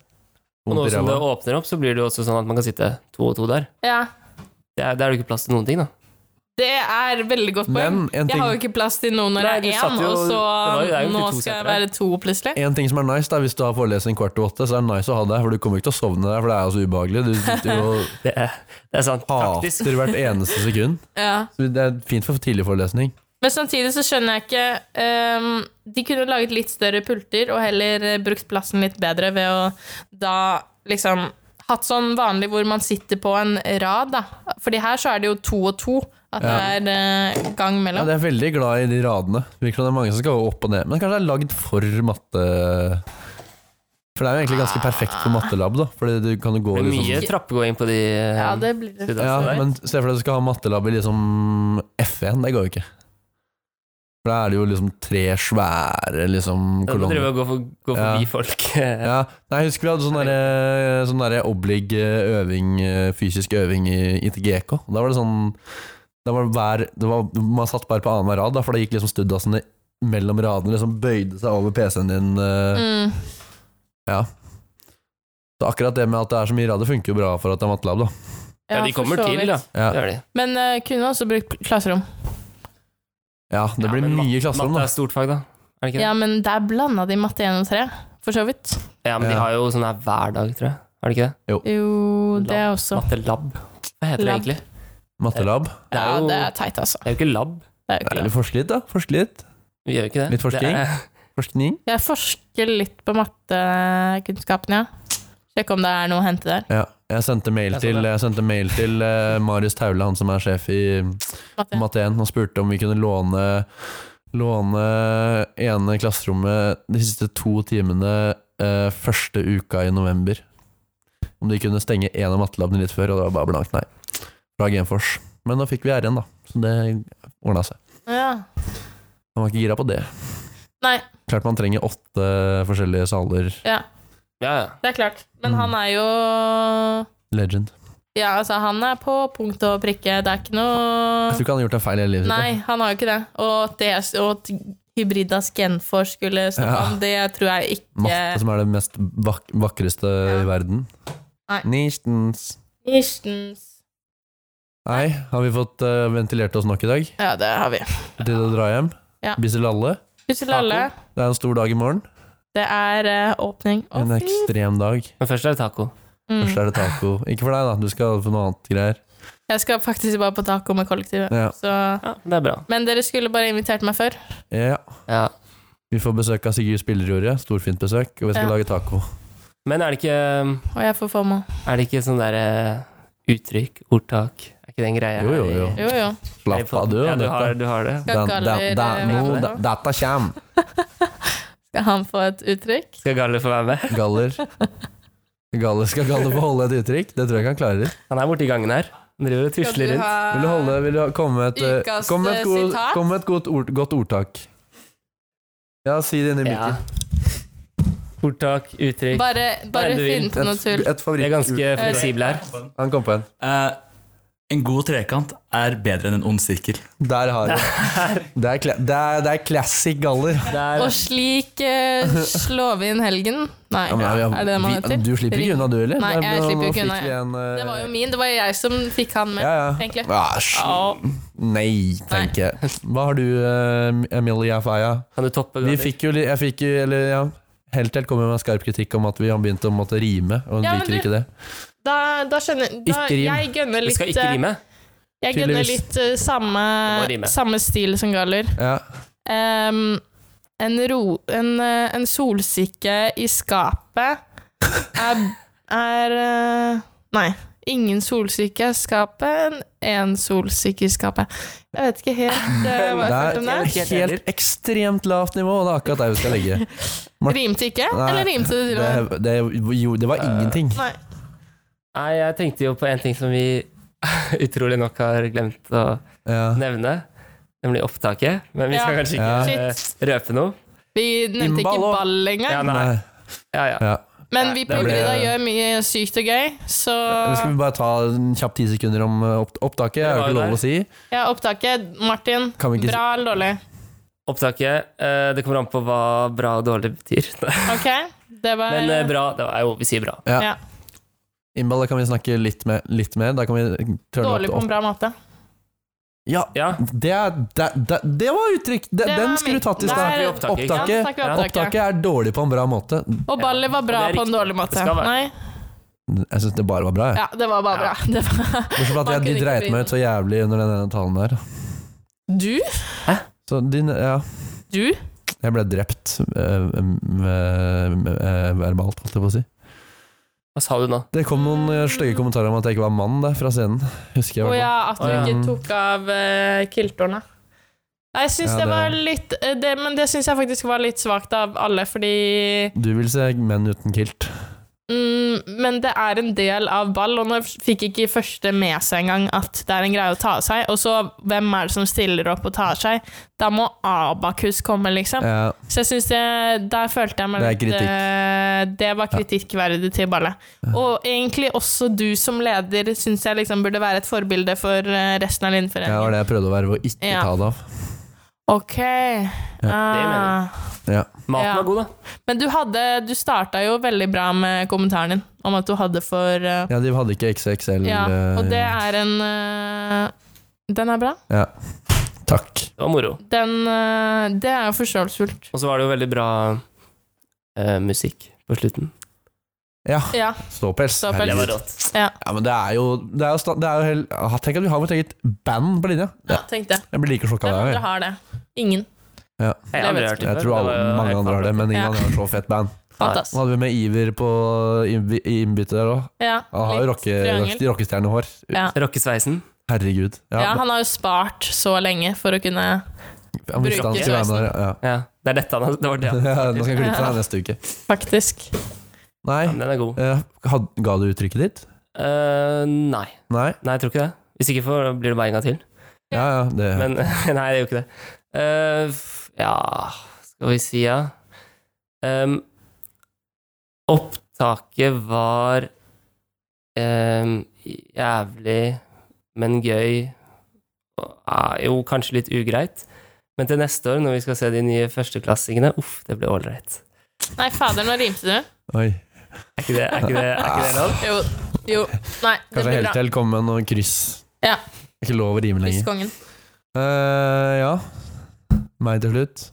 C: Og nå
A: Vondt i
C: som det
A: ræva.
C: åpner opp, så blir det jo også sånn at man kan sitte to og to der.
B: ja.
C: Det er, det er jo ikke plass til noen ting, da.
B: Det er veldig godt poeng.
A: Men en
B: Jeg
A: ting,
B: har jo ikke plass til noen når
C: Nei, du
B: jeg er
C: satt
B: én,
C: jo-
B: og så
C: det var jo- det er jo
B: nå
C: egentlig to
B: skal jeg
C: setter her.
B: være to, plutselig.
A: en ting som er nice, da, hvis du har forelesning kvart til åtte, så er det nice å ha deg, for du kommer ikke til å sovne der, for det er jo så ubehagelig. Du sitter jo og
C: Det er, det er sant. Praktisk.
A: hater hvert eneste sekund.
B: Ja.
A: Så det er fint for tidlig forelesning.
B: Men samtidig så skjønner jeg ikke ehm, De kunne jo laget litt større pulter og heller eh, brukt plassen litt bedre ved å da liksom Hatt sånn vanlig hvor man sitter på en rad, da. Fordi her så er det jo to og to. At det er eh, gang
A: Ja,
B: mellom.
A: det er veldig glad i de radene. Virker som det er mange som skal opp og ned. Men kanskje det er lagd for matte... For det er jo egentlig ganske perfekt for mattelab, da. Fordi du kan jo gå
C: Det er mye
A: liksom
C: trappegåing på de eh,
B: Ja, det blir det.
A: Ja,
C: studentene der.
A: men se for deg at du skal ha mattelab i liksom F1. Det går jo ikke. For da er det jo liksom tre svære liksom
C: Da må du
A: kolonner.
C: drive og gå, for, gå forbi folk. Ja.
A: Ja, nei, jeg husker vi hadde sånn derre sånn der oblig eh, øving, eh, fysisk øving i, i GK. Da var det sånn da var det hver, det var, Man satt bare på annenhver rad, da, for da gikk liksom studdasene mellom radene, liksom bøyde seg over PC-en din. eh.
B: Mm.
A: Så akkurat det med at det er så mye rader, funker jo bra for at det er mattelab, da.
C: Ja, de
B: for
C: kommer
B: så
C: til,
B: vidt.
C: da.
A: Ja.
C: Det gjør de.
B: Men eh, kunne også brukt pl- klasserom.
A: Ja, det
C: Ja,
A: blir
C: men mat-
A: mye klasserom, da.
C: Matte er stort fag, da. Er det ikke det?
B: Ja, men der blanda de matte 1 og 3, for så vidt.
C: Ja, men de
A: Ja.
C: har jo sånn her hver dag, tror jeg. Er det ikke det?
B: Jo, det
C: Lab.
B: også.
C: Mattelab. Hva heter det
B: Lab.
C: egentlig?
A: Mattelab.
C: Det er
B: Ja,
C: jo,
B: det er teit, altså.
C: det er jo ikke lab.
B: Det er jo
A: Nei,
B: ikke
A: vi
B: lov.
A: forsker litt, da. Forsker litt.
C: Vi gjør jo ikke det.
A: Litt forskning?
C: Det er,
A: Forskning.
B: Jeg forsker litt på mattekunnskapene, ja. Sjekk om det er noe å hente der.
A: Ja, jeg sendte mail
C: Jeg så
A: til,
C: det.
A: jeg sendte mail til eh, Marius Taule, han som er sjef i
B: Matte.
A: Matte 1, og spurte om vi kunne låne Låne ene klasserommet de siste to timene eh, første uka i november. Om de kunne stenge en av mattelabene litt før, og det var bare blankt nei. Fra Genfors. Men da fikk vi R1, da, så det ordna seg.
B: Ja.
A: Man var ikke gira på det.
B: Nei,
A: Klart man trenger åtte forskjellige saler.
C: ja, ja.
B: det er klart. Men
A: Mm.
B: han er jo
A: Legend.
B: Ja, altså, han er på punkt og prikke. Det er ikke noe
A: Jeg tror ikke han har gjort en feil i hele livet sitt. da.
B: Nei, han har jo ikke det. Og at, det, og at Hybridas Genfor skulle snakke
A: Ja.
B: om, det tror jeg ikke
A: Matte altså. som er det mest vak vakreste
B: Ja.
A: i verden.
B: Nei.
A: Nistens.
B: Kirstens
A: Nei, har vi fått eh, ventilert oss nok i dag?
B: Ja, det har vi.
A: Til å dra hjem?
B: Ja.
A: Bissel alle?
B: Husk til alle.
A: Det er en stor dag i morgen.
B: Det er eh, åpning. Å,
A: En
B: fy.
A: ekstrem dag.
C: Men først er det taco.
B: Mm.
A: Først er det taco. Ikke for deg, da. Du skal få noe annet greier.
B: Jeg skal faktisk bare på taco med kollektivet.
A: Ja.
B: Så.
C: Ja, det er bra.
B: Men dere skulle bare invitert meg før.
A: ja.
C: Ja.
A: Vi får besøk av Sigurd Spillerjordet. Storfint besøk. Og vi skal
B: Ja.
A: lage taco.
C: Men er det ikke,
B: Og jeg får FOMO.
C: er det ikke sånn derre uttrykk, ordtak Er ikke det en greie?
A: Jo, jo, jo.
B: Jo, jo.
A: Slapp av, du.
C: Ja, du
A: dette-
C: har, du har det.
A: Den-
B: Skal
A: den- den-
B: galler,
A: nå,
B: eh,
A: da- Dette kjem.
B: Skal han få et uttrykk?
C: Skal Galle få være med?
A: Galler. Galler skal galler få holde et uttrykk. Det tror jeg ikke han klarer.
C: Han er borte i gangen her. Han driver og tusler rundt.
A: Vil du, holde, vil du ha- komme med et, eh,
B: Ukas,
A: kom med
B: eh,
A: et, god,
B: sitat?
A: kom med et godt, ord, godt ordtak? Ja, si det inn i mikken.
C: Ja. Ordtak, uttrykk
B: Bare, bare
C: Nei, du vil.
B: finn på noe tull.
A: Et, et
C: Vi er
A: favoritt...
C: ganske fleksible her.
A: Han kom på en.
E: Eh, en god trekant er bedre enn en ond sirkel.
A: Der har du det. Er, kla- det, er, det er classic galler.
C: Der,
B: Og slik eh, slår vi inn helgen. Nei,
A: Ja, men vi-
B: er det det man
A: vi-
B: heter?
A: Du slipper ikke unna, du heller.
B: Nei, jeg
A: nå-
B: slipper
A: nå
B: ikke
A: fikk
B: unna,
A: vi
B: jeg.
A: en, eh,
B: Det var jo min. Det var jeg som fikk han med,
A: ja, ja.
B: egentlig.
A: Æsj. Nei, tenker jeg. Hva har du, eh, Emilia Faya?
C: kan du toppe
A: Vi
C: Galler?
A: fikk jo, li- jeg fikk jo, eller ja Helt til kom jeg med skarp kritikk om at vi har begynt å måtte rime, og hun
B: Ja,
A: liker
B: men du-
A: ikke det.
B: Da, da skjønner da,
A: Ikke rim.
B: Jeg gønner
C: Det
B: litt,
C: skal ikke
B: eh,
C: rime.
B: jeg gønner
A: Tydeligvis.
B: litt eh, samme,
C: Det må rime.
B: samme stil som Galler.
A: Ja.
B: Ehm, en, ro, en, eh, en solsikke i skapet er, er eh, Nei. Ingen solsikke i skapet, en solsikke i skapet. Jeg vet ikke helt eh, hva jeg følte om det.
A: Det er helt ekstremt lavt nivå, og det er akkurat der vi skal legge.
B: Rimte ikke?
A: Nei,
B: Eller rimte det til og med?
A: Det, det, jo, det
C: Eh,
A: var ingenting.
B: Nei.
C: Nei, jeg tenkte jo på en ting som vi utrolig nok har glemt å
A: Ja.
C: nevne. Nemlig opptaket. Men vi skal
B: Ja.
C: kanskje
A: Ja.
C: ikke eh, røpe noe.
B: Vi nevnte ikke
A: Innball og-
B: ball
C: Ja,
B: engang.
C: nei.
A: Nei.
C: Ja, ja.
A: Ja.
B: Men vi
C: det
B: på
A: ble-
B: Hybrida gjør mye sykt og gøy, så
A: Nå skal vi bare ta en kjapp ti sekunder om eh, opp opptaket. Jeg har
C: Det
A: ikke
C: var
A: lov
C: jo
A: å si.
B: ja, opptaket. Martin,
A: Kan vi ikke si-
B: bra eller dårlig?
C: Opptaket. eh, Det kommer an på hva bra og dårlig betyr.
B: Ok? Det var
C: Men eh, bra Det er jo vi sier bra.
B: Ja.
A: Innball det kan vi snakke litt, med, litt mer. Da kan vi turne opp
B: dårlig
A: til
B: på en
A: opp.
B: bra måte.
A: Ja,
C: Ja.
A: det, er- det, det, det var uttrykk! Det,
B: Det var
A: den
B: min.
A: skulle du tatt i
B: Der-
A: stad.
C: snakker vi opptaket, ikke
B: Ja,
A: Opptaket,
B: snakker vi
C: Ja.
B: opptaket.
A: opptaket er dårlig på en bra måte.
B: Og ballet var bra
C: Ja, det er
B: på en
C: riktig.
B: dårlig måte.
C: Det skal være.
B: Nei,
A: Jeg syns det bare var bra. jeg.
B: ja, det var bare
C: Ja.
B: bra. Det var.
A: Bortsett fra at
B: Man
A: jeg,
B: kunne
A: de
B: ikke
A: dreit
B: bry
A: meg ut så jævlig under den ene talen der.
B: Du?
A: Så de, ja,
B: Du?
A: jeg ble drept eh, eh, eh, verbalt, holdt jeg på å si.
C: Hva sa du nå?
A: Det kom noen eh, stygge kommentarer om at jeg ikke var mann der fra scenen. Husker jeg
B: Mm. Å
A: i hvert fall.
B: ja, at du
C: Å, ja.
B: ikke tok av uh, eh, kiltårene. Nei, Jeg synes
A: Ja,
B: det,
A: det-
B: var litt eh, det, Men det syns jeg faktisk var litt svakt av alle, fordi
A: Du vil se menn uten kilt.
B: mm, Men det er en del av ball, og nå fikk ikke første med seg engang at det er en greie å ta av seg. Og så, hvem er det som stiller opp og tar av seg? Da må Abakus komme, liksom.
A: Ja,
B: Så jeg synes det Der følte jeg meg
A: Det er
B: litt eh, Det var kritikkverdig til ballet. Og egentlig også du som leder syns jeg liksom burde være et forbilde for eh, resten av
A: det var
B: Lindforeningen.
A: det jeg prøvde å være ved å ikke
B: Ja.
A: ta det av.
B: Ok. Ah.
A: Ja.
C: Maten
B: Ja.
C: var god, da.
B: Men du, hadde, du starta jo veldig bra med kommentaren din om at du hadde for eh,
A: ja, de hadde ikke XXL.
B: Ja, og det
A: eh,
B: er en eh, Den er bra.
A: Takk.
C: Det var moro.
B: Den eh, Det er jo forståelsesfullt.
C: Og så var det jo veldig bra eh, musikk på slutten.
A: Ja,
B: Ja.
A: ståpels.
B: Ståpels.
C: Det
A: Herregud.
C: var rått.
A: Ja, men det er jo, det er jo, sta- det er jo helt, ah, Tenk at vi har vårt eget band på linja.
B: ja, tenk det.
A: Jeg blir like sjokka
B: Hvem
A: der.
B: andre
A: Jeg.
B: har det? Ingen.
C: Jeg, har aldri hørt det
A: jeg
C: før.
A: tror
C: Det
A: alle,
C: var jo
A: mange
C: helt
A: andre har det, men ingen
B: Ja.
A: andre har så fett band. Nå
B: Fantastisk.
A: hadde vi med Iver på innby- i innbyttet der òg.
B: Ja,
A: Han har jo
B: litt
A: rocke,
B: triangel.
A: rockestjernehår.
B: Ja.
C: Rockesveisen.
A: Herregud. Ja,
B: Ja, han har jo spart så lenge for å kunne
A: han visste han skulle være med der. Ja.
C: Ja, det er dette han har Det var det. han-
A: Ja, nå skal jeg klippe deg neste uke.
B: Faktisk.
A: Nei,
C: Ja, men den er god.
A: eh, had, ga du uttrykket ditt?
C: Eh, nei.
A: Nei?
C: nei, jeg tror ikke det. Hvis ikke for, blir det bare en gang til.
A: Ja, ja, det
C: Men nei, det er jo ikke det. Eh, f- ja Skal vi si, ja. Em, opptaket var em, jævlig, men gøy. Og, ah, jo, kanskje litt ugreit. Men til neste år, når vi skal se de nye førsteklassingene, uff, det blir ålreit.
B: Nei, fader, nå rimte du.
A: Oi.
C: Er ikke det, er ikke det, er ikke det lov?
B: Jo. Jo. Nei, det
A: Kanskje
B: blir
A: helt
B: bra.
A: til komme med noe kryss.
B: Ja.
A: Det er ikke lov å rime lenger.
B: Lyskongen.
A: Eh, ja. Meg til slutt.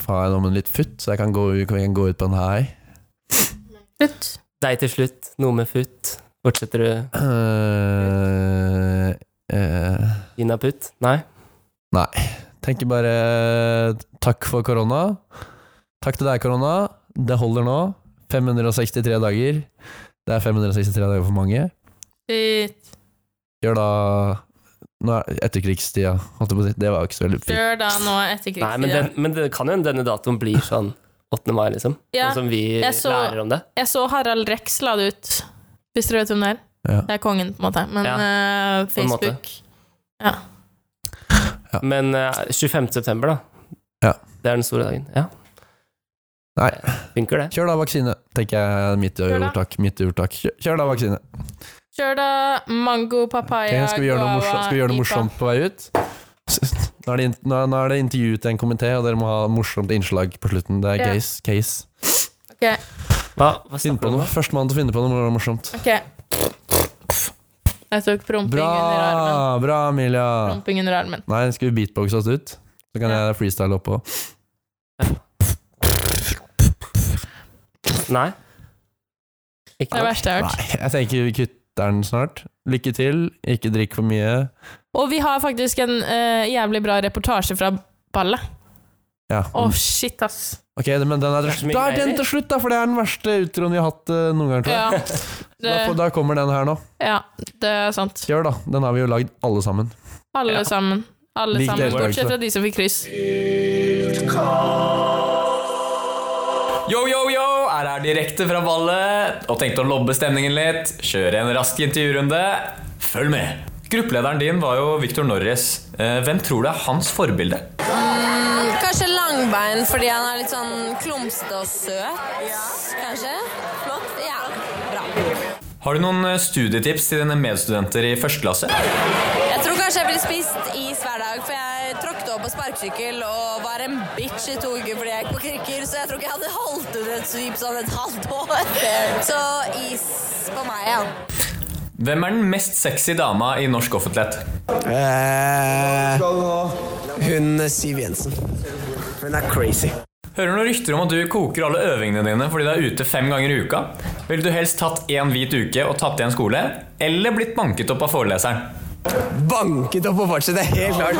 A: Faen, om en litt futt, så jeg kan gå, jeg kan gå ut på en hei.
B: Slutt.
C: Deg til slutt, noe med futt. Fortsetter du
A: Eh, eh,
C: Gina putt? Nei?
A: tenker bare takk for korona. Takk til deg, korona. Det holder nå. 563 dager. Det er 563 dager for mange.
B: Slutt.
A: Gjør da Nå er etterkrigstida, holdt jeg på å si. Det var jo ikke så veldig fint.
B: Gjør da nå etter
C: Nei, men,
B: krigstida.
C: den, men det kan jo hende denne datoen blir sånn 8. mai, liksom.
B: Ja,
C: sånn
A: altså-
C: som vi
B: jeg så-
C: lærer om det.
B: Jeg så Harald Rex la det ut, hvis dere vet hvem det er.
A: Ja.
B: Det er kongen, på en måte, men
C: Ja,
B: eh,
C: på en måte.
B: Facebook
C: Men eh, 25. september, da.
A: Ja.
C: Det er den store dagen. Ja.
A: Nei.
C: Funker det?
A: Kjør da vaksine, tenker jeg. Mitt
B: Kjør da.
A: ordtak. Mitt ordtak. Kjør- Kjør da vaksine.
B: Kjør da mango,
A: Ok,
B: papaya,
A: skal vi gjøre noe morsomt, skal vi gjøre noe morsomt på vei ut? Nå er, det, in- nå, nå er det intervju til en komité, og dere må ha morsomt innslag på slutten. Det er
B: Ja.
A: case. case.
C: Hva, hva
A: Finn
C: snakker
A: på
C: du om?
A: noe.
C: da?
A: Førstemann til å finne på noe må være morsomt.
B: Ok. Jeg tok promping
A: Bra,
B: under armen.
A: bra, Emilia.
B: Promping under armen.
A: Nei, skal vi beatboxe oss ut? Så kan
B: Ja.
A: jeg freestyle oppå.
C: Nei?
B: Det er
C: Ikke
B: det
C: noe?
B: verste jeg har hørt.
A: Nei, jeg tenker vi kutter den snart. Lykke til, ikke drikk for mye.
B: Og vi har faktisk en eh, jævlig bra reportasje fra ballet.
A: Ja.
B: Å, shit, ass.
A: Ok, men den er,
C: Det er så mye
A: da er den
C: greier.
A: til slutt, da, for det er den verste utroen vi har hatt eh, noen gang. Tror jeg.
B: Ja. Det,
A: Da, får- da kommer den her nå.
B: ja, det er sant.
A: Kjør, da. Den har vi jo lagd alle sammen.
B: Alle
C: Ja.
B: sammen. Alle
A: Lik
B: sammen.
A: deltakelse.
B: Bortsett fra de som fikk kryss.
F: Yo, yo, yo! Er her direkte fra ballet og tenkte å lobbe stemningen litt. Kjøre en rask intervjurunde. Følg med! Gruppelederen din var jo Victor Norris. Eh, Hvem tror du er hans forbilde?
G: Kanskje langbein fordi han er litt sånn klumsete og søt. Kanskje? Flott? Ja. Bra.
F: Har du noen eh, studietips til dine medstudenter i første klasse?
G: Jeg tror kanskje jeg ville spist is hver dag, for jeg tråkket over på sparkesykkel og var en bitch i to uker fordi jeg gikk på krykker, så jeg tror ikke jeg hadde holdt ut et svip sånn et halvt år. Så is på meg, ja.
F: Hvem er den mest sexy dama i norsk offentlighet?
H: Eh, hun eh, Siv Jensen. Hun er crazy.
F: Hører noen rykter om at du koker alle øvingene dine fordi du er ute fem ganger i uka? Ville du helst tatt én hvit uke og tatt igjen skole, eller blitt banket opp av foreleseren?
H: Banket opp og fortsatt, det er helt klart.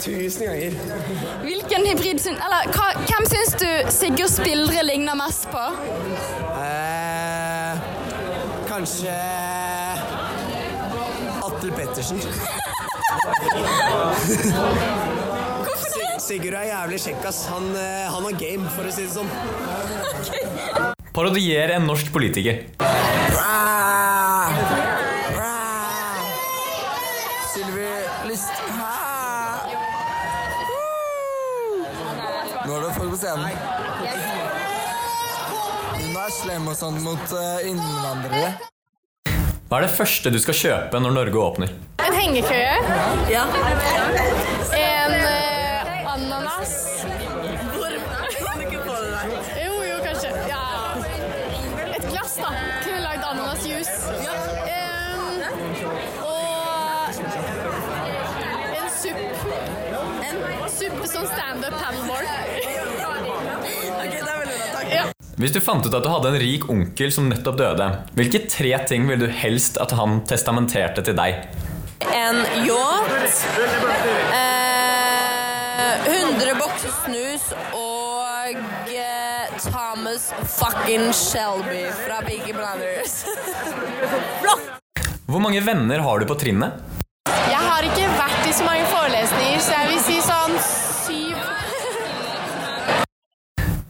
H: Tusen ganger.
I: Hvilken hybrid syn... Eller hva, hvem syns du Sigurd Spildre ligner mest på?
H: Eh, kanskje Atle Pettersen. Sig- Sigurd er jævlig kjekk, ass. Han, eh, han har game, for å si det sånn.
F: Parodier en norsk politiker.
J: Sylvi Lyst... Hæ? Nå er det folk på scenen. Hun er slem og sånn mot eh, innvandrere.
F: Hva er det første du skal kjøpe når Norge åpner?
I: En hengekøye. En eh, ananas. Jo, jo, kanskje. Ja. Et glass, da. Kunne lagd ananasjuice. Em, og en supp. En suppe som standup paddleboard. Ja.
F: Hvis du fant ut at du hadde en rik onkel som nettopp døde, hvilke tre ting ville du helst at han testamenterte til deg?
G: En yacht. Eh, 100 bokser snus og eh, Thomas fucking Shelby fra Biggie Blinders. Flott!
F: Hvor mange venner har du på trinnet?
I: Jeg har ikke vært i så mange forelesninger, så jeg vil si sånn syv.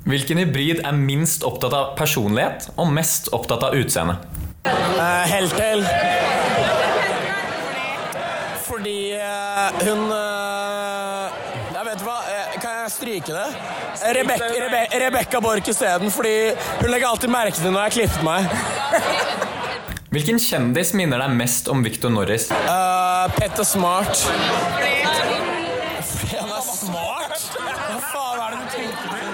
F: Hvilken hybrid er minst opptatt av personlighet og mest opptatt av utseende?
H: Uh, Heltel. Fordi eh, hun eh, Jeg vet hva, eh, kan jeg stryke det? Rebek Rebe Rebekka Borch isteden, fordi hun legger alltid merke til når jeg klipper meg.
F: Hvilken kjendis minner deg mest om Victor Norris?
H: Eh, Petter Smart. Fordi han er smart? Hva faen er det du tenker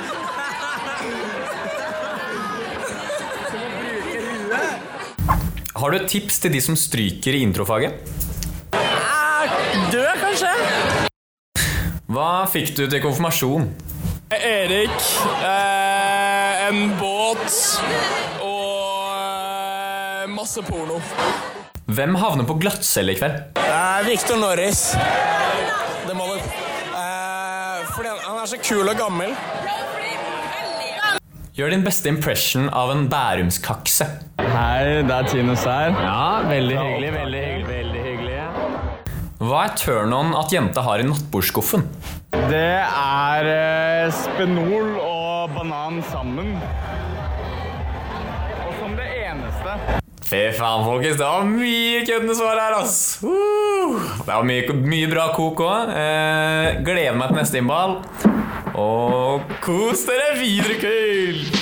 F: Har du et tips til de som stryker i introfaget?
H: på? Ah, Død, kanskje?
F: Hva fikk du til konfirmasjon?
H: Erik. eh, en båt. Og eh, masse porno.
F: Hvem havner på glattcelle i kveld?
H: Eh, Victor Norris. Det må det. Eh, fordi han, han er så kul og gammel.
F: Gjør din beste impression av en bærumskakse.
K: Hei, det er Tinus her.
F: Ja,
K: veldig hyggelig, veldig hyggelig, veldig hyggelig.
F: Hva er turn-on at jenta har i nattbordskuffen?
K: Det er eh, spenol og banan sammen. Og som det eneste.
F: Fy faen, folkens. Det var mye køddende svar her, ass. Uh, Det var mye, mye bra kok òg. Eh, gleder meg til neste innball. Og kos dere videre, kull!